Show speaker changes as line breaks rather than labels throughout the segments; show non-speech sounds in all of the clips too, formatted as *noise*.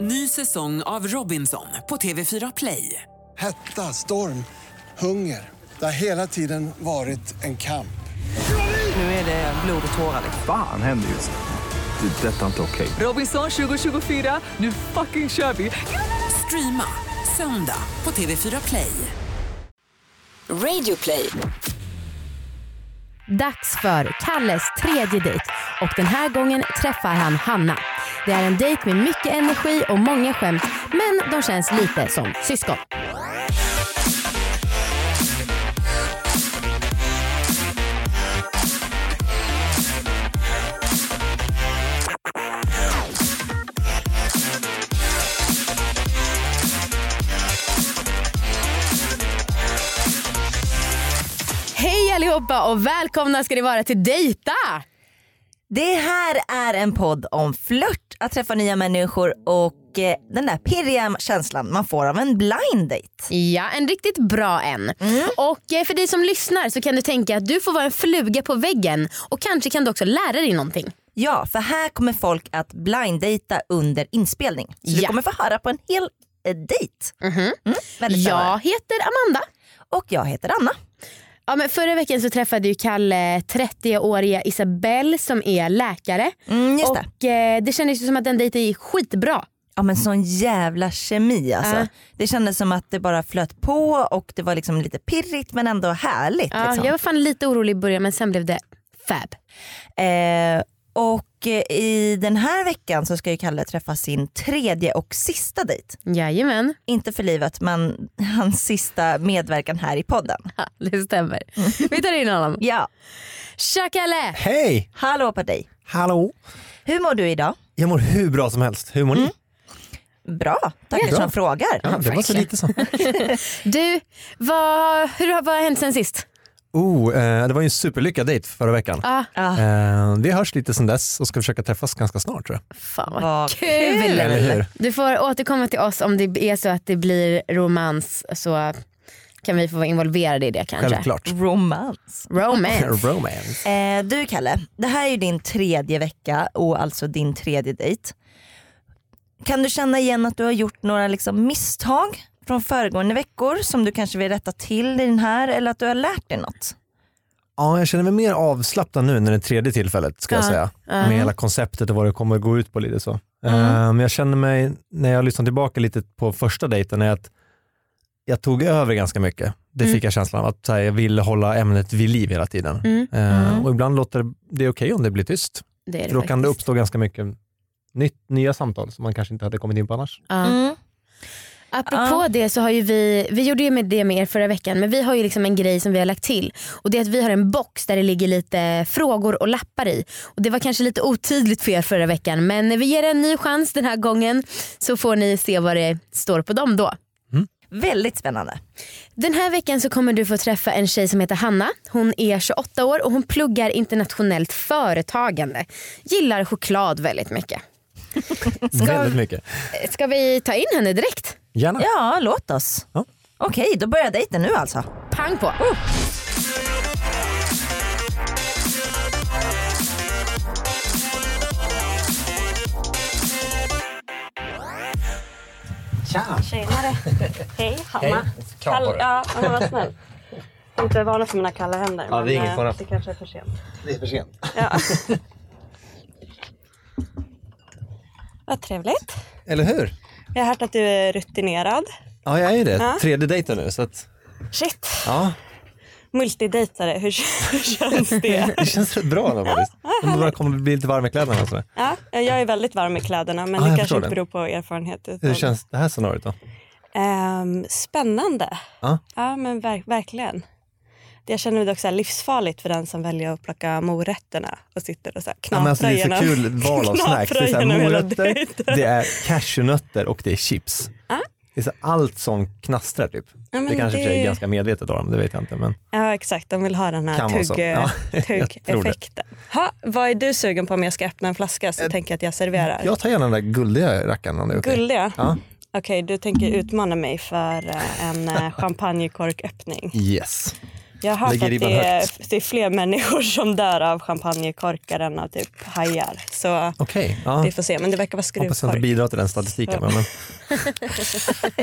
Ny säsong av Robinson på TV4 Play.
Hetta, storm, hunger. Det har hela tiden varit en kamp.
Nu är det blod och tårar.
Fan händer just nu. Det. är Detta är inte okej.
Robinson 2024, nu fucking kör vi! Streama söndag på TV4 Play. Radio Play.
Dags för Kalles tredje dejt och den här gången träffar han Hanna. Det är en dejt med mycket energi och många skämt men de känns lite som syskon. Hej allihopa och välkomna ska ni vara till Dejta!
Det här är en podd om flört, att träffa nya människor och eh, den där pirriga känslan man får av en blind date.
Ja, en riktigt bra en. Och eh, för dig som lyssnar så kan du tänka att du får vara en fluga på väggen och kanske kan du också lära dig någonting.
Ja, för här kommer folk att blind data under inspelning. Så du
Ja. Mhm.
kommer få höra på en hel eh, dejt. Mm, väldigt
Jag
spännande.
heter Amanda.
Och jag heter Anna.
Ja, men förra veckan så träffade ju Kalle 30-åriga Isabelle som är läkare.
Mm, just det.
och eh, det kändes ju som att den dejten gick skitbra.
Ja men sån jävla kemi alltså.
Ja.
Det kändes som att det bara flöt på och det var liksom lite pirrigt men ändå härligt.
Ja,
liksom.
Jag var fan lite orolig i början men sen blev det fab.
Eh, och eh, i den här veckan så ska ju Kalle träffa sin tredje och sista dejt.
Jajamän,
Inte för livet men *laughs* hans sista medverkan här i podden.
ha, det stämmer. Vi tar in honom.
Ja,
Tja Kalle!
Hej!
hallå på dig.
Hallå!
Hur mår du idag?
Jag mår hur bra som helst. Hur mår ni?
Bra, tackar
Bra.
som frågar.
Mm. Ja, det var så lite så.
Du, vad, hur, har- vad har hänt sen sist?
Oh, eh, det var ju en superlyckad dejt förra veckan.
Ah,
Ja,
Eh, vi hörs lite sen dess och ska försöka träffas ganska snart tror jag.
fan vad
vad
kul!
Eller hur?
Du får återkomma till oss om det är så att det blir romans så kan vi få vara involverade i det kanske.
Självklart.
romans.
*laughs*
Romance.
Romance.
Eh, du Kalle, det här är ju din tredje vecka och alltså din tredje dejt. Kan du känna igen att du har gjort några liksom misstag från föregående veckor som du kanske vill rätta till i den här eller att du har lärt dig något?
Ja, jag känner mig mer avslappnad nu än det tredje tillfället ska jag
Ja.
säga. Med hela konceptet och vad det kommer att gå ut på lite så. Eh, Men jag känner mig, när jag lyssnar tillbaka lite på första dejten, är att jag tog över ganska mycket. Det fick jag känslan av, att så här, jag ville hålla ämnet vid liv hela tiden.
Mm.
Eh, Och ibland låter det, det är okej om det blir tyst.
Det är det
För då kan det
faktiskt.
uppstå ganska mycket nytt, nya samtal som man kanske inte hade kommit in på annars.
Ja.
Mm.
Apropå det så har ju vi, vi gjorde ju med det med er förra veckan men vi har ju liksom en grej som vi har lagt till och det är att vi har en box där det ligger lite frågor och lappar i. Och Det var kanske lite otydligt för er förra veckan men vi ger en ny chans den här gången så får ni se vad det står på dem då.
Väldigt spännande.
Den här veckan så kommer du få träffa en tjej som heter Hanna. Hon är 28 år och hon pluggar internationellt företagande. Gillar choklad väldigt mycket. Alltså.
Väldigt mycket.
Ska vi ta in henne direkt?
Gärna.
Ja, låt oss.
Ja.
Okej, då börjar dejten nu alltså.
Pang på!
*laughs*
Tjenare. Hej, Hanna.
Kram på dig.
ja, Hanna var snäll. Jag är inte van för mina kalla händer.
Ja, det är
men,
ingen
eh,
fara.
Det kanske är för sent.
Det är för sent. *laughs*
Ja. Vad trevligt.
Eller hur?
Jag har hört att du är rutinerad.
Ja, jag är ju det.
Ja.
Tredje dejten nu. Så att,
Shit,
ja,
multidejtare. Hur, hur känns
*laughs*
det?
det känns rätt bra då faktiskt. Om bara kommer bli lite varm i kläderna. och sådär.
Ja, jag är väldigt varm i kläderna men
Ja, jag
det kanske
förstår
inte
det.
beror på erfarenhet.
Hur
utan-
känns det här scenariot då?
Ehm, spännande.
Ja.
Ja, men verk- verkligen. Det jag känner mig dock så här livsfarligt för den som väljer att plocka morötterna och sitter och så här
Ja,
knaprar
men alltså, det är så
genom,
kul val av
knaprar
snacks. Det är så här
genom hela
morötter,
dejten.
det är cashewnötter och det är chips. Det är så här allt som knastrar typ.
men
det kanske i och för
det-
sig är ganska medvetet av dem, det vet jag inte. Men...
Ja, exakt. De vill ha den här
Kan vara så.
tugg,
Ja, *laughs* jag tror det.
tuggeffekten. Ha, vad är du sugen på om jag ska öppna en flaska så tänker jag att jag serverar?
Eh, Jag tar gärna den där guldiga rackaren om det är okej.
Gulliga?
Ja.
Okej, du tänker utmana mig för eh, en eh, champagnekorköppning.
Yes.
Jag har hört
Lägger
att
ribban
det är,
högt.
det är fler människor *laughs* som dör av champagnekorkar än av typ hajar. Så
Okej, ja.
vi får se. Men det verkar vara
hoppas jag inte
skruvkork.
bidrar till den statistiken.
Ja.
Men,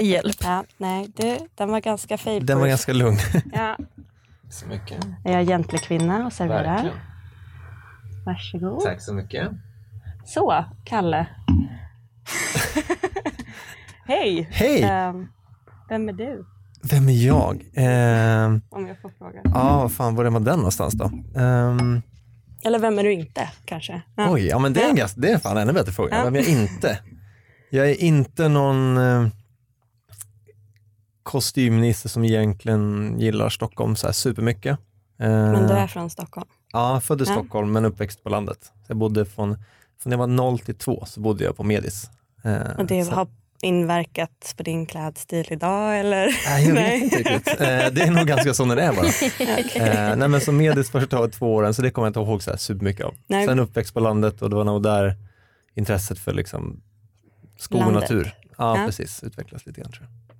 Hjälp.
Ja, nej, det, den var ganska fail
den var
proof.
ganska lugn.
Ja.
Så mycket.
Är jag gentlekvinna och serverar? Varsågod.
Tack så mycket.
Så, Kalle. Hej!
Hej!
Ehm, vem är du?
Vem är jag? Ehm,
Om jag får fråga.
Ja, vad fan, var är man den någonstans då? Ehm,
Eller vem är du inte kanske? Ja.
Oj, ja men det är, en ganska, det är fan en ännu bättre fråga.
Ja.
Vem är jag inte? Jag är inte någon eh, kostymminister som egentligen gillar Stockholm så här supermycket. Eh,
Men du är från Stockholm.
Ja, född i
Ja.
Stockholm men uppväxt på landet. Så jag bodde från, från jag var 0 till 2 så bodde jag på Medis. Eh,
Och det
så-
har inverkat på din klädstil idag eller?
Nej, jag vet inte riktigt. Eh, det är nog ganska som den är
*laughs*
bara. Eh, nej, men som medis första av två åren, så det kommer jag inte ihåg så här supermycket av.
Nej.
Sen uppväxt på landet och det var nog där intresset för liksom skog och
Landet.
natur ja,
Ja.
precis, utvecklas lite grann. Tror jag.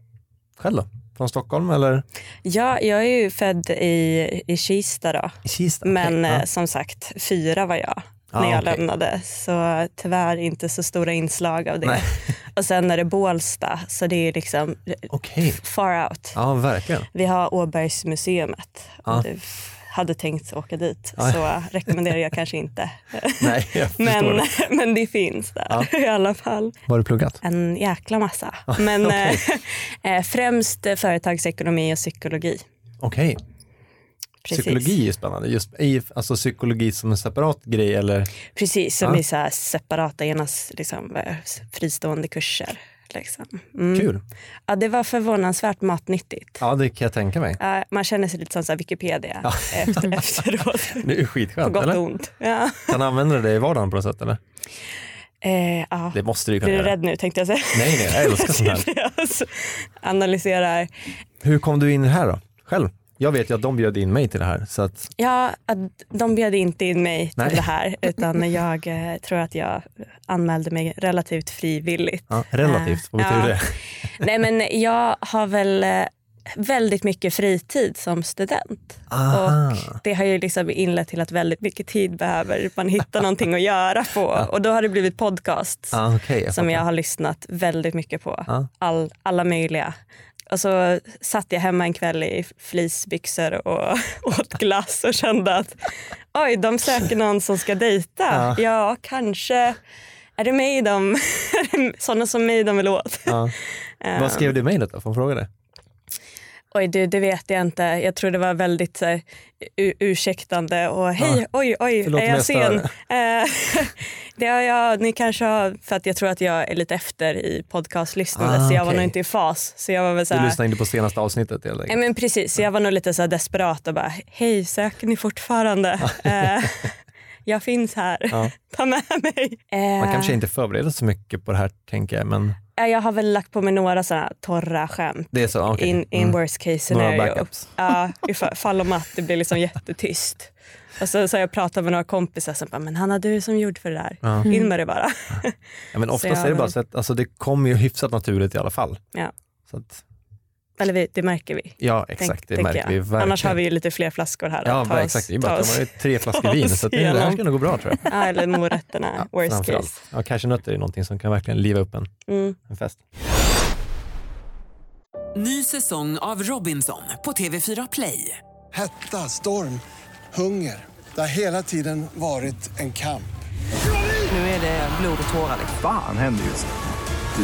Själv då? Från Stockholm eller?
Ja, jag är ju född i, i Kista då.
I Kista?
Men
Okej,
eh, som sagt, fyra var jag
Ja,
när jag
Ah, okej.
lämnade. Så tyvärr inte så stora inslag av det.
Nej.
*laughs* Och sen är det Bålsta, så det är liksom
ja. Okej.
far out.
Ja, verkligen.
Vi har Åbergsmuseet.
Ja.
Om du f- hade tänkt åka dit
Ja.
så rekommenderar jag
*laughs*
kanske inte.
Nej, jag förstår
*laughs* Men,
det. Ah.
men det finns där
Ja.
*laughs* i alla fall.
Vad har du pluggat?
En jäkla massa.
Ah,
Men eh, *laughs* främst eh, företagsekonomi och psykologi.
Okej,
Precis.
psykologi är spännande. Just, i- alltså psykologi som en separat grej eller?
Mm. Precis, som
Ja.
är så här separata, ena liksom, eh, fristående kurser. Liksom. Mm.
Kul.
Ja, det var förvånansvärt matnyttigt.
Ja, det kan jag tänka mig.
Ja, man känner sig lite som så här Wikipedia *laughs* efter,
*laughs*
efteråt.
Det är
På
skitskönt,
gott
eller?
och ont. Ja.
Kan använda det i vardagen på något sätt eller?
Eh, ja.
Det måste du ju kunna
Blir du
göra.
rädd nu tänkte jag säga.
Nej, nej, jag älskar sånt
*laughs*
här.
Analyserar.
Hur kom du in här då? Själv? Jag vet ju att de bjöd in mig till det här. Så att,
Ja, att de bjöd inte in mig till
Nej.
det här utan jag eh, tror att jag anmälde mig relativt frivilligt. Eh,
ja, relativt, får vi
Ja.
tur det.
*laughs* Nej men jag har väl eh, väldigt mycket fritid som student.
Aha.
Och det har ju liksom inlett till att väldigt mycket tid behöver man hitta någonting att göra på. Och då har det blivit podcasts
Ah, okay, jag
som
fattar. Ah.
jag har lyssnat väldigt mycket på.
Ja.
All, alla möjliga. Och så satt jag hemma en kväll i fleecebyxor och *laughs* åt glass och kände att oj, de söker någon som ska dejta.
Ah.
Ja, kanske. Är det mig de, *laughs* är det sådana som mig de vill åt?
Ja. Vad skrev du i mejlet då? Får jag fråga det?
Oj, du, det vet jag inte. Jag tror det var väldigt eh, u- ursäktande och hej, oj, oj,
Förlåt
är
om
jag
jag
sen?
stör.
*laughs* Eh, det har jag, ni kanske har, för att jag tror att jag är lite efter i podcastlyssnande
Ah,
så jag var
okej.
nog inte i fas. Så jag var väl så
Du
här,
lyssnade inte på senaste avsnittet helt
Nej,
enkelt.
men precis, så jag var nog lite så här desperat och bara, hej, söker ni fortfarande? *laughs* Eh, jag finns här,
Ja.
*laughs* ta med mig.
Man
Eh,
kanske inte förbereder så mycket på det här tänker jag, men
eh, Jag har väl lagt på mig några sådana torra skämt
det är så. okej.
in, in
Mm.
worst case
Några
scenario.
backups.
Ja, ifall fall om att det blir liksom jättetyst. Och så, så har jag pratat med några kompisar som bara, men Hanna du är som gjord för det där.
Ja.
In med det bara.
Ja, men oftast
jag
är det
har-
bara så att alltså, det kommer ju hyfsat naturligt i alla fall.
Ja.
Så att,
Eller vi, det märker vi.
ja exakt, det
tänker
märker
jag.
vi verkligen.
Annars har vi ju lite fler flaskor här.
Ja,
att ta oss-
exakt. Det är
ta
bara att
oss-
de har ju
*laughs*
tre flaskor
ta
vin,
oss
så att det, det här
igenom.
ska nog gå bra tror jag.
Ja, eller morötterna, worst case.
Ja, cashewnötter är någonting som kan verkligen liva upp en,
Mm.
en fest.
Ny säsong av Robinson på TV4 Play.
Hetta, storm, hunger. Det har hela tiden varit en kamp.
Nu är det blod och tårar.
Fan händer just nu.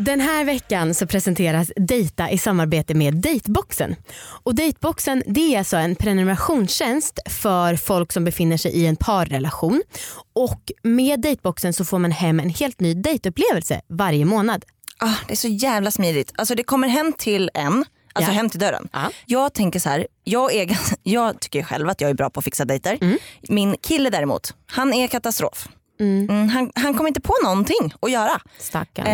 Den här veckan så presenteras Dejta i samarbete med Dateboxen. Och Dateboxen det är alltså en prenumerationstjänst för folk som befinner sig i en parrelation. Och Med Dateboxen så får man hem en helt ny dejtupplevelse varje månad.
Ah, det är så jävla smidigt. Alltså det kommer hem till en, alltså
Ja.
hem till dörren. Jag tänker så här, jag, är, gans- *laughs* jag tycker själv att jag är bra på att fixa dejter.
Mm.
Min kille däremot, han är katastrof. Mm, han, han kommer inte på någonting att göra.
Stackarn.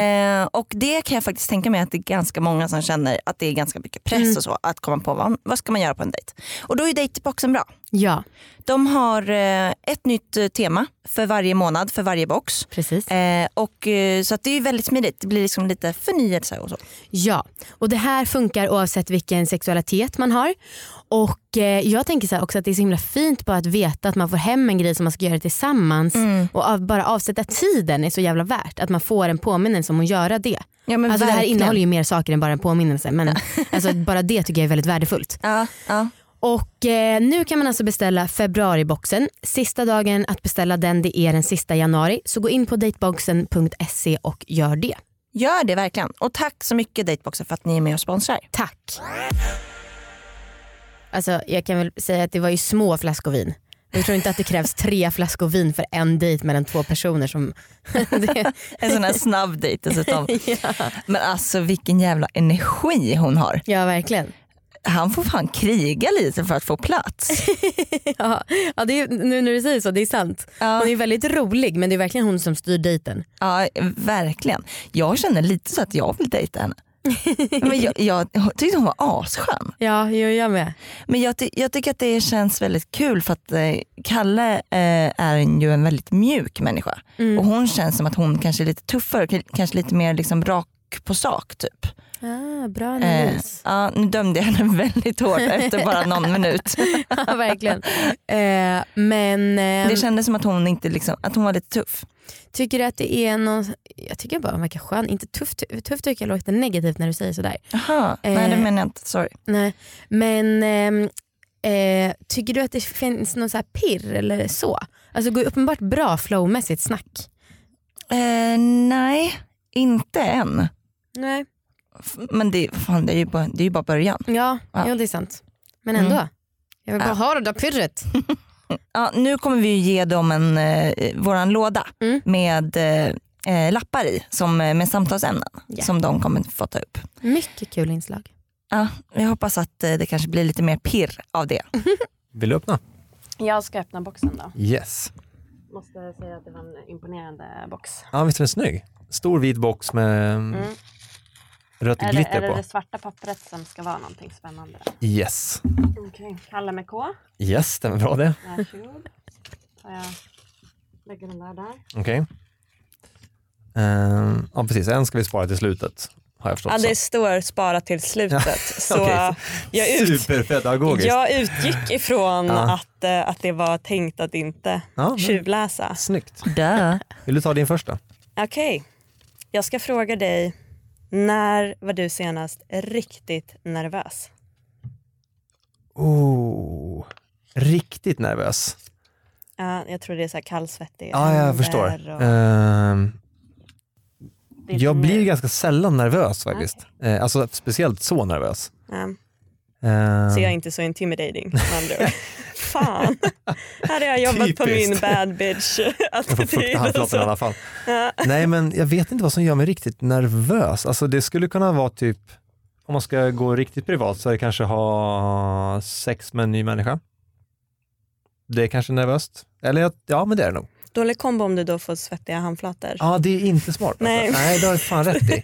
Eh, och det kan jag faktiskt tänka mig att det är ganska många som känner att det är ganska mycket press
Mm.
och så att komma på vad, vad ska man göra på en dejt. Och då är dateboxen bra.
Ja.
De har eh, ett nytt eh, tema för varje månad, för varje box.
Precis.
Eh, och, eh, så att det är väldigt smidigt, det blir liksom lite förnyelse och så.
Ja, och det här funkar oavsett vilken sexualitet man har. Och eh, Jag tänker så här också att det är så himla fint bara att veta att man får hem en grej som man ska göra tillsammans
Mm.
och av, bara avsätta tiden är så jävla värt. Att man får en påminnelse om att göra det.
Ja, men
alltså, det här
verkligen.
innehåller ju mer saker än bara en påminnelse men *laughs* alltså, bara det tycker jag är väldigt värdefullt.
Ja, ja.
Och eh, Nu kan man alltså beställa februariboxen. Sista dagen att beställa den det är den sista januari. Så gå in på dateboxen.se och gör det.
Gör det verkligen. Och tack så mycket Dateboxen för att ni är med och sponsrar.
Tack. Alltså, jag kan väl säga att det var ju små flaskor vin. Jag tror inte att det krävs *laughs* tre flaskor vin för en dejt mellan två personer. *laughs* Som
En sån här snabb dejt *laughs* dessutom. Men alltså vilken jävla energi hon har.
Ja verkligen.
Han får fan kriga lite för att få *laughs* plats.
ja, ja, det är, nu när du säger så, det är sant. Hon är väldigt rolig men det är verkligen hon som styr dejten.
Ja verkligen. Jag känner lite så att jag vill dejta henne. Men jag, jag tyckte hon var asskön.
Ja, jo, jag med.
Men jag, ty- jag tycker att det känns väldigt kul för att eh, Kalle eh, är en- ju en väldigt mjuk människa.
Mm.
Och hon känns som att hon kanske är lite tuffare, k- kanske lite mer liksom rak på sak typ.
Ah, bra
Eh,
*laughs*
ja, nu dömde jag henne *laughs* väldigt hårt efter bara någon minut.
ja, *laughs* verkligen. Eh, men eh,
Det kändes som att hon, inte liksom, att hon var lite tuff.
tycker du att det är någon, jag tycker bara hon verkar skön. Inte tuff, tuff tycker jag låter negativt när du säger sådär.
Jaha, nej det
Eh.
menar jag inte. Sorry.
Nej, men ehm, eh, tycker du att det finns någon så här pirr eller så? Alltså det går ju uppenbart bra flowmässigt snack.
Eh, nej, inte än.
Nej.
F- Men det, fan, det, är ju bara, det är ju bara början.
Ja,
Ja.
Jo, det är sant. Men ändå.
Mm.
Jag vill bara
Ja.
ha det
*laughs*
där pirret.
Ja, nu kommer vi ju ge dem en, eh, våran låda
Mm.
med eh, eh, lappar i som, eh, med samtalsämnen
Ja.
som de kommer få ta upp.
Mycket kul inslag.
Ja, jag hoppas att eh, det kanske blir lite mer pirr av
*laughs*
det.
Vill du öppna?
Jag ska öppna boxen då.
Yes.
Måste säga att det var en imponerande box.
Ja, visst är den snygg? Stor vit box med mm.
Mm.
rött
Är det, är
glitter
det
på.
det svarta pappret som ska vara någonting spännande?
Yes.
Okej, Kalle med K.
Yes, den är bra det.
Varsågod. Tar jag lägger den där där.
Okej. Ehm, ja, precis. En ska vi spara till slutet, har jag förstått.
Ja, det
så.
står spara till slutet.
*laughs* alltså.
Så
Okej.
jag, ut,
Superpedagogiskt.
jag utgick ifrån
Ja.
att, eh, att det var tänkt att inte
Ja, men-
tjuvläsa.
Snyggt.
Duh.
Vill du ta din första?
Okej, jag ska fråga dig. När var du senast riktigt nervös?
Oh, riktigt nervös.
Ja, jag tror det är så här kallsvettig.
Ja, jag
händer
förstår.
och-
Ehm,
är
jag
lite
blir ganska sällan nervös faktiskt. Eh, alltså speciellt så nervös.
Ja.
Ehm,
Så jag är inte så intimidating med
*laughs*
andra ord. Fan, här har jag jobbat på
Typiskt.
min bad *laughs*
jag får
bitch-attityd.
fukta
*laughs*
handflatan i alla fall.
Ja.
Nej men jag vet inte vad som gör mig riktigt nervös. Alltså det skulle kunna vara typ, om man ska gå riktigt privat så är det kanske ha sex med en ny människa. Det är kanske nervöst. Eller jag- ja men det är det nog.
Dålig kombo om du då får svettiga handflator.
Ja det är inte smart. Petra.
Nej.
Nej det har du fan rätt
*laughs*
i.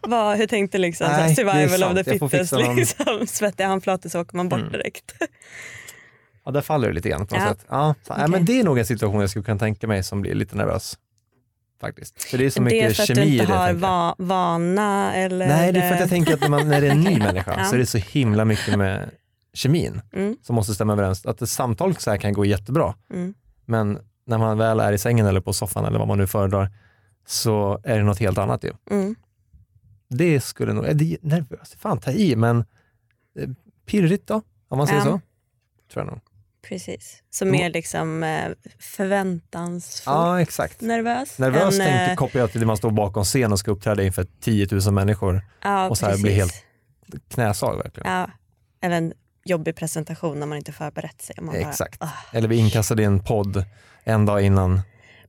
Vad, hur tänkte liksom så
Nej,
här,
det är
survival of
sant.
the
Jag får
fittest,
fixa någon- Mm.
liksom, *laughs* svettiga handflator så åker man bort direkt.
Ja där faller det lite grann på något
Ja.
sätt. Ja, så, nej, men det är nog en situation jag skulle kunna tänka mig som blir lite nervös. Faktiskt. För det är så
det är
mycket
för att
kemi
du
i det.
inte
tänker
har
jag.
va, vana eller...
Nej, det är för att jag tänker att när, man, när det är en ny människa
*laughs* Ja.
så är det så himla mycket med kemin
Mm.
som måste stämma överens. Att ett samtal så här kan gå jättebra,
Mm.
men när man väl är i sängen eller på soffan eller vad man nu föredrar så är det något helt annat ju.
Mm.
Det skulle nog, är det är nervöst, fan ta i, men eh, pirrigt då, om man säger
Ja.
så. Tror jag nog.
Precis, som är liksom eh, förväntansfull,
Ja, exakt.
nervös.
Nervöst
En,
tänker,
eh,
kopplar jag till det man står bakom scen och ska uppträda inför 10 000 människor
Ja,
och så här blir
precis.
helt knäsag verkligen.
Ja, eller en jobbig presentation när man inte förberett sig. Man bara,
Exakt.
"Ah."
Eller vi inkastade i en podd en dag innan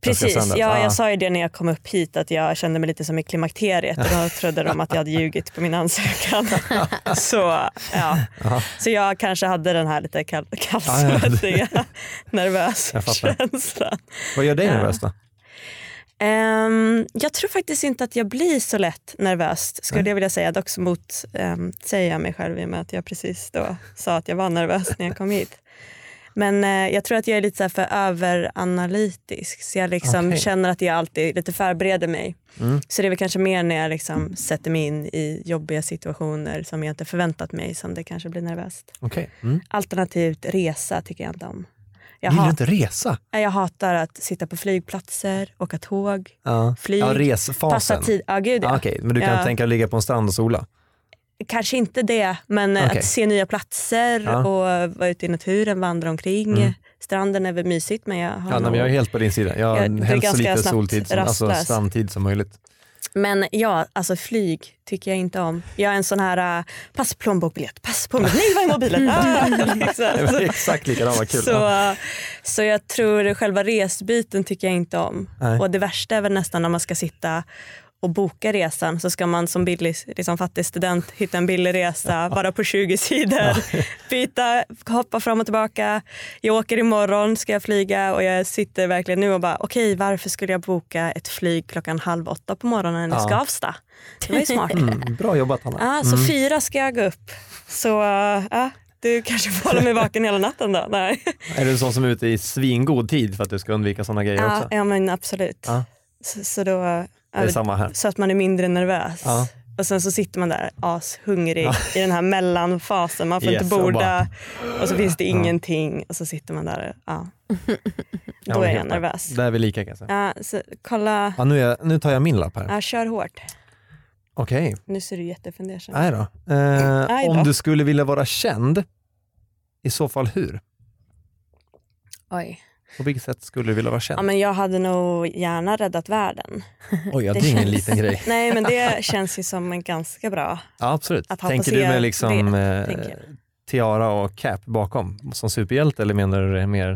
den ska
Precis,
sändas.
ja,
Ah.
jag sa ju det när jag kom upp hit att jag kände mig lite som i klimakteriet och
*laughs*
då trodde de att jag hade ljugit på min ansökan. så, ja.
Ja. Ah,
så jag kanske hade den här lite kall-
ja, det-
kallsvettiga,
*laughs*
nervösa
Jag fattar.
känslan.
Vad gör dig
Ja.
nervös då?
Ehm, jag tror faktiskt inte att jag blir så lätt nervös, skulle jag vilja säga. Dock så mot um, säga mig själv i och med att jag precis då sa att jag var nervös när jag kom hit. Men eh, jag tror att jag är lite så här för överanalytisk, så jag liksom
Okej.
känner att jag alltid lite förbereder mig.
Mm.
Så det är väl kanske mer när jag liksom sätter mig in i jobbiga situationer som jag inte förväntat mig som det kanske blir nervöst.
Okej. Mm.
Alternativt resa tycker jag inte om. Jag
Vill du
hat-
inte resa?
Nej, Jag hatar att sitta på flygplatser, åka tåg,
Ja.
flyg,
ja, resfasen.
passa tid. Ja, gud, ja.
Ah, Okej, men du kan
Ja.
tänka dig att ligga på en strand och sola?
Kanske inte det, men eh,
Okej.
att se nya platser
Ja.
och vara ute i naturen, vandra omkring.
Mm.
Stranden är väl mysigt men jag har
Ja, nej,
nog-
men jag är helt på din sida. Jag,
Jag
jag
blir
helst så
ganska
lite
snabbt
soltid, som, alltså
rastlös.
strandtid som möjligt. *laughs*
Men ja, alltså flyg tycker jag inte om. Jag är en sån här, eh, pass plånbok, biljett, pass plånbok, nej var är
*laughs*
mobilen? Ah,
Det
liksom.
var Exakt likadant, vad kul.
Så,
Ja.
eh, så jag tror själva resbiten tycker jag inte om.
Nej.
Och det värsta är väl nästan när man ska sitta och boka resan så ska man som billig, liksom fattig student hitta en billig resa, vara på 20 sidor,
*laughs*
byta, hoppa fram och tillbaka. Jag åker imorgon, ska jag flyga och jag sitter verkligen nu och bara okej varför skulle jag boka ett flyg klockan halv åtta på morgonen i
Ja.
Skavsta? Det var ju smart.
Mm, bra jobbat Hanna.
Ja, så
Mm.
fyra ska jag gå upp. Så ja, du kanske får hålla mig vaken hela natten då. Nej.
Är du en sån som är ute i svingod tid för att du ska undvika sådana grejer
Ja,
också?
ja men absolut.
Ja.
Så, så, då,
är samma här.
så att man är mindre nervös.
Ja.
Och sen så sitter man där ashungrig i den här mellanfasen. Man får
Yes,
inte
och
borda och,
bara-
så finns det
Ja.
ingenting och så sitter man där. Ja.
Ja,
Då
men
är jag
helt klart.
nervös.
Där är vi lika kan jag säga.
Ja, så kolla,
Ja, nu, är jag, nu tar jag min lapp här.
ja, kör hårt.
Okej,
Nu ser du jättefundersam
nej då. Eh,
Aj då.
Om du skulle vilja vara känd, i så fall hur?
Oj.
På vilket sätt skulle du vilja vara känd?
Ja, men jag hade nog gärna räddat världen.
Oj, ja, det är ingen liten grej.
Nej, men
*laughs*
det känns ju som en ganska bra.
Ja, absolut.
Att han
Tänker
får
du
se
med liksom,
det,
eh,
tänker jag.
tiara och cap bakom som superhjälte eller menar du det mer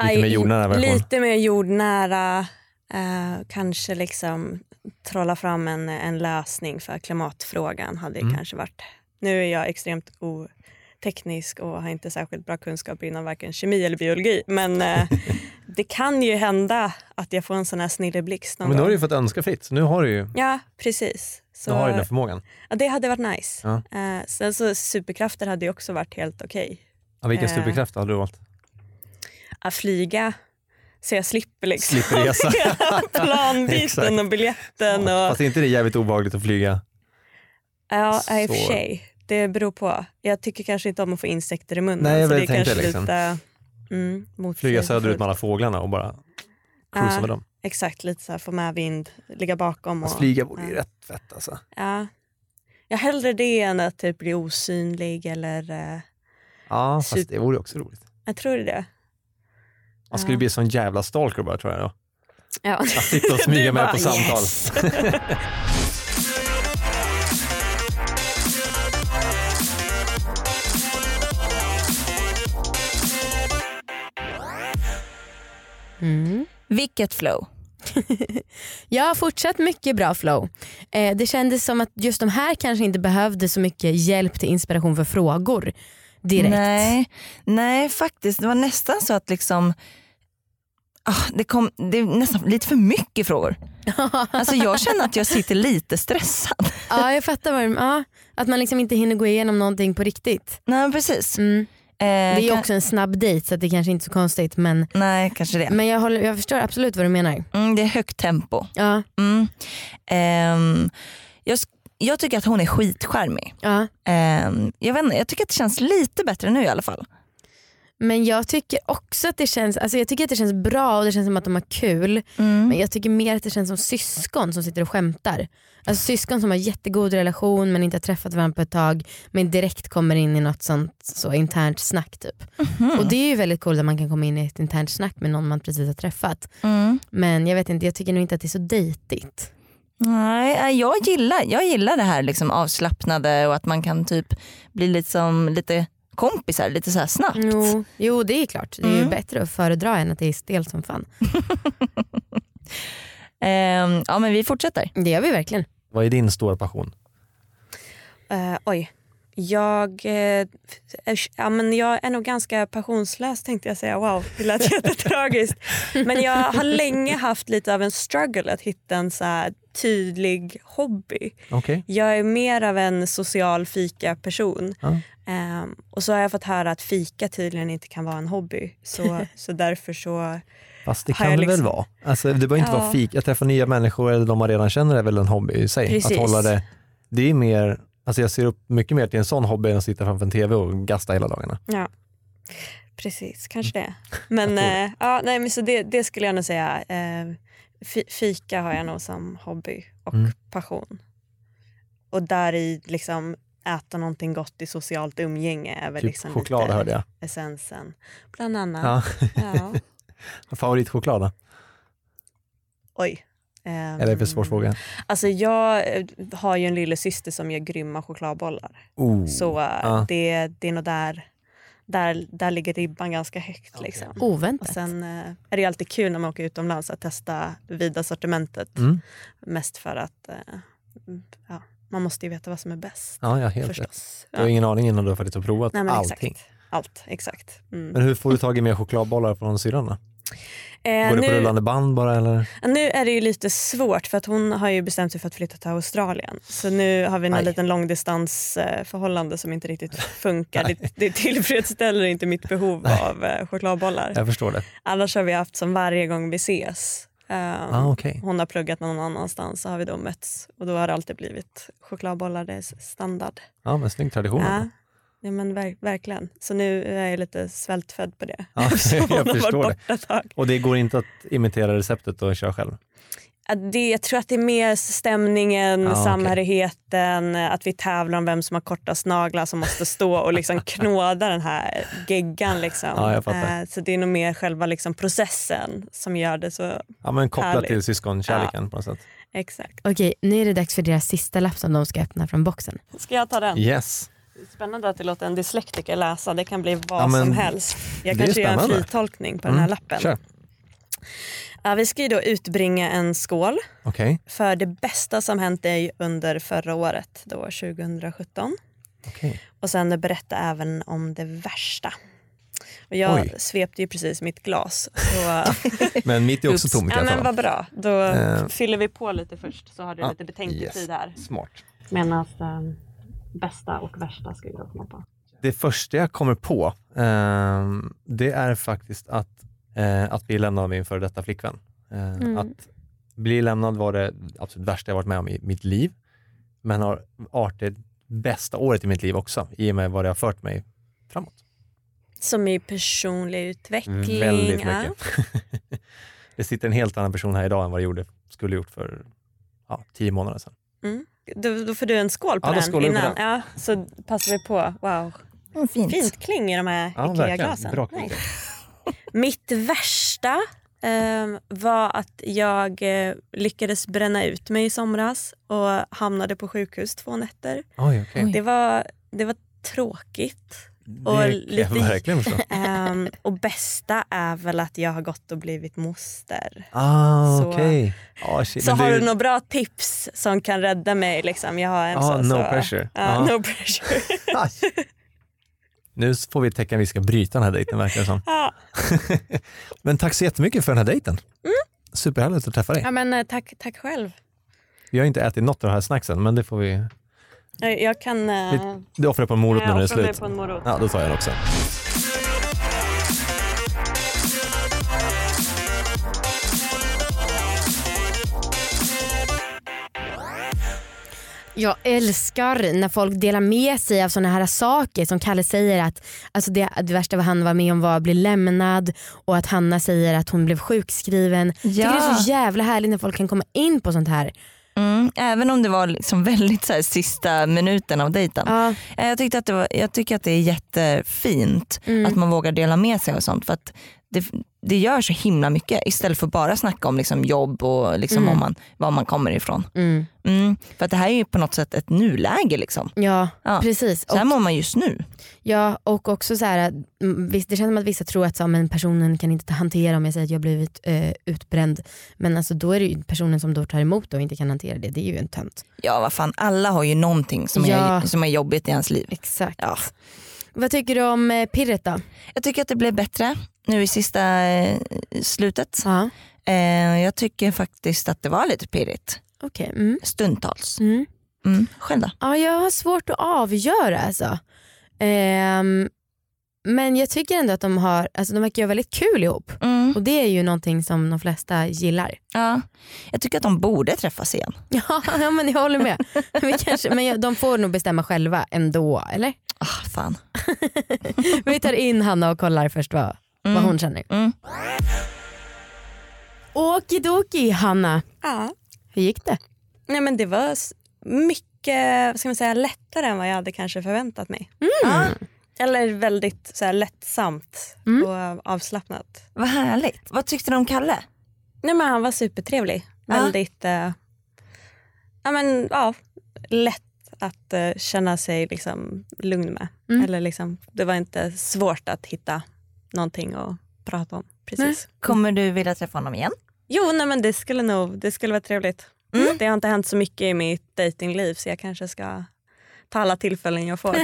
lite mer
Aj,
jordnära version?
Lite mer jordnära. Eh, kanske liksom trolla fram en, en lösning för klimatfrågan hade
Mm.
kanske varit. Nu är jag extremt oteknisk och har inte särskilt bra kunskap inom varken kemi eller biologi.
*laughs*
Men eh, det kan ju hända att jag får en sån här snilleblixt någon
Men nu har
gång.
du ju fått önska fritt, så nu har du ju
Ja, precis. Så,
nu har du den förmågan.
ja, det hade varit nice.
Ja.
Eh, sen så superkrafter hade ju också varit helt okej.
Ja, vilken
Eh,
superkraft hade du valt?
att flyga så jag slipper liksom
Slipper resa.
*laughs* hela
Exakt.
planbiten och biljetten. Och,
Fast är inte det jävligt obehagligt att flyga?
ja, i och för
så-
sig. Det beror på. Jag tycker kanske inte om att få insekter i munnen.
Nej, jag
så det är
tänkte
kanske
det liksom.
lite mm, motsägelsefullt.
Flyga söderut med alla fåglarna och bara cruisa
Ja,
med dem?
Exakt, lite så här, få med vind, ligga bakom.
Fast
Och,
flyga vore ju rätt fett alltså.
ja. Jag hellre det än att typ bli osynlig eller... eh,
Ja, fast
Super-
det vore ju också roligt.
jag tror det.
Man
Ah.
skulle bli en sån jävla stalker bara tror jag. då.
Ja.
Att
*laughs*
sitta och smyga
Du
med
bara,
på samtal.
"Yes."
Vilket flow.
Mm. Jag har fortsatt mycket bra flow. Eh, det kändes som att just de här kanske inte behövde så mycket hjälp till inspiration för frågor direkt.
Nej, nej faktiskt. Det var nästan så att liksom, ah, det, kom, det är nästan lite för mycket
*laughs*
frågor. Alltså jag känner att jag sitter lite stressad.
Ja jag fattar vad du ja, Att man liksom inte hinner gå igenom någonting på riktigt.
Nej precis.
Mm. det är ju
Eh, kan-
också en snabb dejt så att det kanske inte är så konstigt men,
Nej, kanske det.
men jag, håller, jag förstår absolut vad du menar.
Mm, det är högt tempo.
Ja.
Mm. Ehm, jag, sk- jag tycker att hon är skitcharmig. Ehm,
Ja.
jag, vet inte, jag tycker att det känns lite bättre nu i alla fall.
Men jag tycker också att det känns alltså jag tycker att det känns bra och det känns som att de har kul.
Mm.
Men jag tycker mer att det känns som syskon som sitter och skämtar. Alltså syskon som har jättegod relation men inte har träffat varandra på ett tag men direkt kommer in i något sånt så internt snack typ.
Mhm.
Och det är ju väldigt coolt att man kan komma in i ett internt snack med någon man precis har träffat.
Mm.
Men jag vet inte, jag tycker nog inte att det är så dejtigt.
Nej, nej, jag gillar, jag gillar det här liksom avslappnade och att man kan typ bli liksom lite kompisar lite så här snabbt.
Jo, jo det är klart. Det är ju
Mm.
bättre att föredra än att det är stelt som fan.
Ehm, ja men vi fortsätter.
Det gör vi verkligen.
Vad är din stora passion?
Eh, oj. Jag, eh, är- ja, men jag är nog ganska passionslös tänkte jag säga. Wow, det lät jättetragiskt. Men jag har länge haft lite av en struggle att hitta en så här tydlig hobby.
Okej.
Jag är mer av en social fika-person.
Ja.
Ehm, och så har jag fått höra att fika tydligen inte kan vara en hobby. Så, så därför så...
Fast det
Har
kan det
jag
väl
liksom-
vara? Alltså, det behöver inte
Ja.
vara fik. Att träffa nya människor eller de man redan känner är väl en hobby i sig.
Precis.
Att hålla det, det är mer, alltså jag ser upp mycket mer till en sån hobby än att sitta framför en tv och gasta hela dagarna.
Ja, precis. Kanske
*laughs*
det. Men, eh, ja, nej, men så det, det skulle jag nog säga. Eh, fi- fika har jag nog som hobby och
Mm.
passion. Och där i liksom äta någonting gott i socialt umgänge är väl
Typ
liksom
choklad,
lite
hörde jag.
essensen. Bland annat.
Ja. *laughs*
Ja.
Favoritchoklad då?
Oj. Ehm,
Eller är det för svår fråga?
Alltså jag eh, har ju en lille syster som gör grymma chokladbollar.
Oh.
Så eh,
Ja.
det, det är nog där, där, där ligger ribban ganska högt. Liksom.
Oväntat.
Och sen eh, är det ju alltid kul när man åker utomlands att testa vida sortimentet.
Mm.
Mest för att eh, ja, man måste ju veta vad som är bäst.
Ja, ja, helt rätt.
förstås.
Du har ingen aning innan du har faktiskt provat
Nej, men
allting.
Exakt. Allt, exakt. Mm.
Men hur får du tag i mer chokladbollar från syrran då?
Eh,
Går det på
nu-
rullande band bara eller?
Nu är det ju lite svårt för att hon har ju bestämt sig för att flytta till Australien. Så nu har vi en
Aj.
liten långdistansförhållande som
*laughs*
inte riktigt funkar. det, det tillfredsställer inte mitt behov av eh, chokladbollar.
Jag förstår det.
Annars har vi haft som varje gång vi ses. Um,
Ah, okej.
Hon har pluggat någon annanstans så har vi då mötts och då har det alltid blivit chokladbollar, det är s- standard.
Ja men snygg tradition.
Ja. Ja, men ver- verkligen. Så nu är jag lite svältfödd på det. *laughs*
Ja, *laughs*
Så hon
jag
har varit
förstår det.
borta ett tag.
Och det går inte att imitera receptet och köra själv?
Att det, jag tror att det är mer stämningen,
Ah, okej.
samhörigheten, att vi tävlar om vem som har kortast naglar som måste stå
*laughs*
och liksom knåda den här geggan. Liksom.
Ja, jag fattar.
Eh, Så det är nog mer själva liksom processen som gör det så
Ja men kopplat
Härligt.
till syskonkärleken på något sätt.
exakt.
Okej, nu är det dags för deras sista lapp som de ska öppna från boxen.
Ska jag ta den?
Yes.
Spännande att du låter en dyslektiker läsa. Det kan bli vad
Ja, men
som helst. Jag
det är
kanske gör en
spännande.
fritolkning på
Mm,
den här lappen.
Kör.
Ja, vi ska ju då utbringa en skål
Okej.
för det bästa som hänt dig under förra året, då 2017.
Okej.
Och sen berätta även om det värsta. Och jag
Oj.
svepte ju precis mitt glas. Så,
*laughs* Men mitt är också
Oops.
tomt i
ja,
alla
men
fall.
Vad bra, då
Eh. Ah,
fyller vi på lite först så har du
Ja,
lite betänketid här.
Smart.
Medan alltså, bästa och värsta ska vi då komma på.
Det första jag kommer på ehm, det är faktiskt att, eh, att bli lämnad av min före detta flickvän. Eh,
Mm.
Att bli lämnad var det absolut värsta jag varit med om i mitt liv. Men har varit det bästa året i mitt liv också i och med vad det har fört mig framåt.
Som i personlig utveckling.
Mm, Väldigt
ja.
mycket. *laughs* det sitter en helt annan person här idag än vad det gjorde, skulle gjort för ja, tio månader sedan.
Mm. Då, då får du en skål på
Ja, då
den
skålar vi på
innan. Ja, så passar vi på. Wow.
Mm, fint.
Fint kling i de här
Ja, verkligen.
IKEA-glasen.
Bra
Nice.
kvalitet.
Mitt värsta ehm, var att jag eh, lyckades bränna ut mig i somras och hamnade på sjukhus två nätter.
Oj, okej.
Det var, det var tråkigt. Och
Det kan jag
lite-
verkligen
*laughs*
förstå.
Ehm, och bästa är väl att jag har gått och blivit moster.
Ah,
Så-
okej. Ah, shit.
Så
Men
har
det- *laughs*
du några bra tips som kan rädda mig? Liksom. Jag har en
Ah,
så,
no
så,
pressure.
Ja,
Ah.
No pressure. *laughs*
Nu får vi ett tecken vi ska bryta den här dejten verkar det som. *laughs*
Ja.
Men tack så jättemycket för den här dejten. Superhärligt att träffa dig.
Mm. Ja, men, eh, tack, tack själv.
Vi har inte ätit något av de här snacksen men det får vi...
Jag, jag kan... eh,
vi du offrar på en morot nu när
jag
det är
offrar mig
slut.
på en morot.
Ja, då tar jag den också.
Jag älskar när folk delar med sig av sådana här saker som Kalle säger att alltså det, det värsta vad han var med om var att bli lämnad och att Hanna säger att hon blev sjukskriven. Jag tycker det är så jävla härligt när folk kan komma in på sånt här.
Mm, även om det var liksom *laughs* väldigt så här, sista minuten av dejten. Ja. Jag, tyckte att det var, jag tycker att det är jättefint mm. att man vågar dela med sig av sånt. För att det, det gör så himla mycket istället för bara snacka om liksom, jobb och liksom, mm. man, var man kommer ifrån.
mm.
Mm. för att det här är ju på något sätt ett nuläge. Liksom.
Ja, ja. precis.
Så här och, mår man just nu.
Ja och också så här, mm, det känns som att vissa tror att så, men personen kan inte hantera om jag säger att jag blivit eh, utbränd. Men alltså, då är det ju personen som då tar emot och inte kan hantera det. Det är ju en tönt.
Ja vad fan, alla har ju någonting som, ja. är, som är jobbigt i ens liv.
Exakt.
Ja.
Vad tycker du om eh, pirret då?
Jag tycker att det blev bättre nu i sista eh, slutet. Eh,
Ja.
jag tycker faktiskt att det var lite pirrigt.
Okay. Mm.
Stundtals.
Mm.
Mm. Själv då?
Ja, jag har svårt att avgöra alltså. Um, men jag tycker ändå att de har, alltså de verkar göra väldigt kul ihop.
Mm.
Och det är ju någonting som de flesta gillar. *laughs*
Ja. Jag tycker att de borde träffas igen.
ja, ja men jag håller med. men, kanske, men de får nog bestämma själva ändå eller?
Ah, oh, fan.
Vi tar in Hanna och kollar först vad, mm. vad hon känner.
Mm.
Okidoki Hanna.
Ja.
Hur gick det?
Nej, men det var mycket vad ska man säga, lättare än vad jag hade kanske förväntat mig.
Ja.
Eller väldigt så här, lättsamt
Mm.
och eh, avslappnat.
Vad härligt. Vad tyckte du om Kalle?
Nej, men han var supertrevlig.
Ja.
Väldigt eh, ja, men, ja, lätt att eh, känna sig liksom, lugn med.
Mm.
Eller, liksom, det var inte svårt att hitta någonting att prata om. Precis.
Kommer du vilja träffa honom igen?
Jo, nej, men det skulle nog det skulle vara trevligt.
Mm.
Det har inte hänt så mycket i mitt datingliv så jag kanske ska ta alla tillfällen
*laughs*
jag får.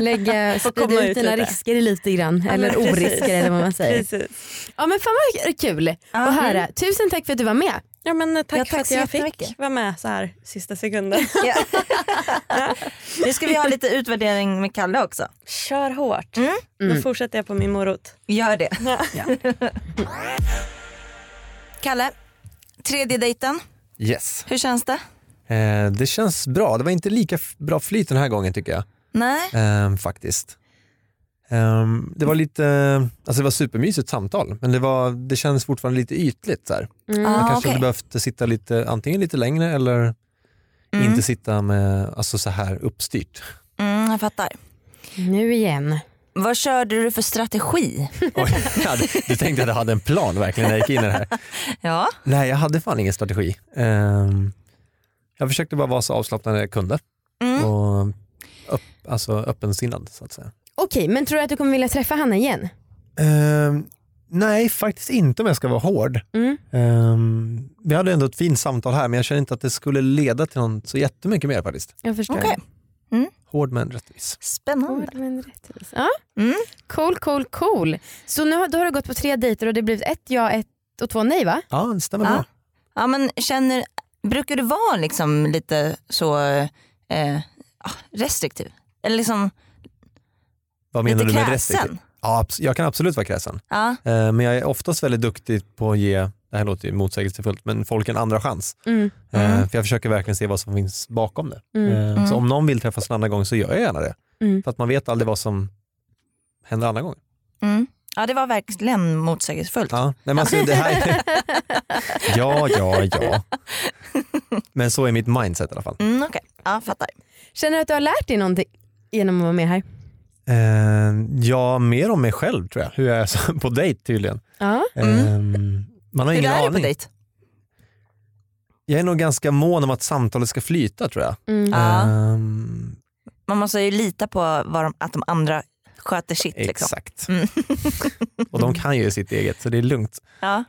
Lägga,
Får
sprida
komma
ut
ut
dina
lite.
risker lite grann.
men
eller
precis.
orisker eller vad man säger.
Precis.
Ja men fan vad kul att höra. Tusen tack för att du var med.
Ja, men, eh, tack
Ja,
för
tack
att
så
jag fick
jättemycket.
vara med så här sista sekunden.
*laughs* Ja. *laughs* nu ska vi ha lite utvärdering med Kalle också.
Kör hårt.
Mm.
Mm.
Då fortsätter jag på min morot.
Gör det.
Ja.
Kalle, tredje dejten.
Yes.
Hur känns det?
Eh, det känns bra. Det var inte lika f- bra flyt den här gången tycker jag.
Nej.
Ehm, faktiskt. Ehm, det var lite, alltså det var supermysigt samtal men det, var, det kändes fortfarande lite ytligt. Så här. Man
Ah,
kanske
okej.
hade behövt sitta lite, antingen lite längre eller
Mm.
inte sitta med, alltså så här
*laughs*
uppstyrt.
Mm, jag fattar.
Nu igen.
Vad körde du för strategi?
Oj, jag hade, du tänkte att jag hade en plan verkligen när jag gick in i det här.
Ja.
Nej, jag hade fan ingen strategi. Ehm, jag försökte bara vara så avslappnad jag kunde
Mm.
och upp, alltså öppensinnad så att säga.
Okej men tror du att du kommer vilja träffa Hanna igen?
Ehm, nej, faktiskt inte om jag ska vara hård.
Mm.
Ehm, vi hade ändå ett fint samtal här men jag känner inte att det skulle leda till någon så jättemycket mer faktiskt.
Jag förstår.
Okej.
Hård men rättvis.
Spännande.
Hård men rättvis. Ja.
Mm.
Cool cool cool. Så nu har, då har du gått på tre dejter och det blivit ett ja ett och två nej va?
Ja, det stämmer
Ja.
bra.
Ja, men känner, brukar du vara liksom lite så eh, ah, restriktiv? Eller liksom
Vad menar
lite
du med
kräsen?
restriktiv? Ja, abs- jag kan absolut vara kräsen.
Ja.
Ehm, men jag är oftast väldigt duktig på att ge, det här låter ju motsägelsefullt, men folk en andra chans.
Mm.
Ehm,
Mm.
för jag försöker verkligen se vad som finns bakom det.
Mm.
Ehm,
Mm.
Så om någon vill träffas en andra gång så gör jag gärna det.
Mm.
För att man vet aldrig vad som händer andra gången.
Mm. ja, det var verkligen motsägelsefullt.
Ja, nej, men alltså, det här *laughs* ja, ja, ja. Men så är mitt mindset i alla fall.
Mm, Okej, ja, fattar.
Känner du att du har lärt dig någonting genom att vara med här?
Ehm, ja, mer om mig själv tror jag. Hur jag är *laughs* så- på dejt tydligen.
Ja.
Mm.
Ehm, man har
Hur
ingen
är det på
aning.
dejt?
Jag är nog ganska mån om att samtalet ska flyta tror jag.
Mm.
Ja.
Ehm,
Man måste ju lita på vad de, att de andra sköter sitt. Liksom.
Exakt.
Mm.
*laughs* och de kan ju sitt eget så det är lugnt.
Ja.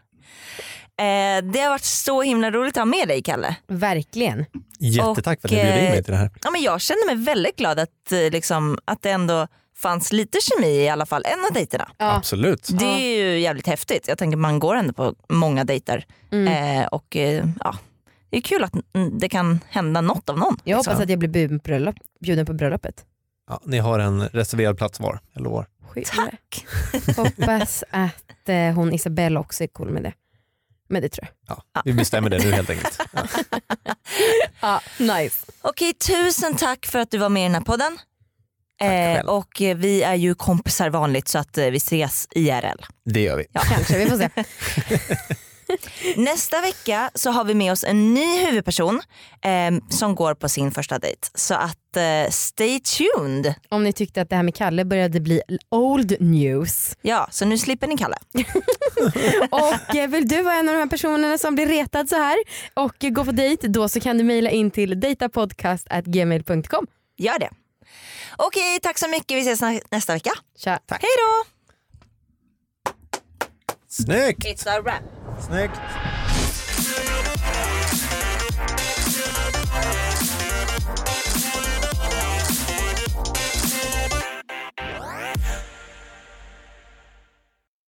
Eh, det har varit så himla roligt att ha med dig Kalle.
Verkligen.
Jättetack för att ni bjöd in mig till det här.
Ja, men jag känner mig väldigt glad att, eh, liksom, att det ändå fanns lite kemi i alla fall, en av dejterna.
Ja.
Absolut.
Det är ju jävligt häftigt. Jag tänker man går ändå på många dejter.
Mm.
Eh, och eh, ja, det är kul att mm, det kan hända något av någon.
Jag
liksom.
hoppas att jag blir bjuden på bröllop- bjuden på bröllopet.
Ja, ni har en reserverad plats var, jag lovar.
Skit i det.
Tack!
Hoppas att eh, hon Isabella också är cool med det. Men det tror jag.
Ja, vi bestämmer det nu
*laughs*
helt enkelt.
Ja, nice.
Okej, tusen tack för att du var med i den här podden. Eh, och eh, vi är ju kompisar vanligt så att eh, vi ses IRL.
Det gör vi.
Kanske, vi får se.
Nästa vecka så har vi med oss en ny huvudperson eh, som går på sin första dejt. Så att eh, stay tuned.
Om ni tyckte att det här med Kalle började bli old news.
Ja, så nu slipper ni Kalle.
Och eh, vill du vara en av de här personerna som blir retad så här och eh, gå på dejt då så kan du mejla in till datapodcast@gmail.com.
Gör det. Okej, tack så mycket. Vi ses nä- nästa vecka.
Tja.
Hej då!
Snyggt!
It's a wrap.
Snyggt!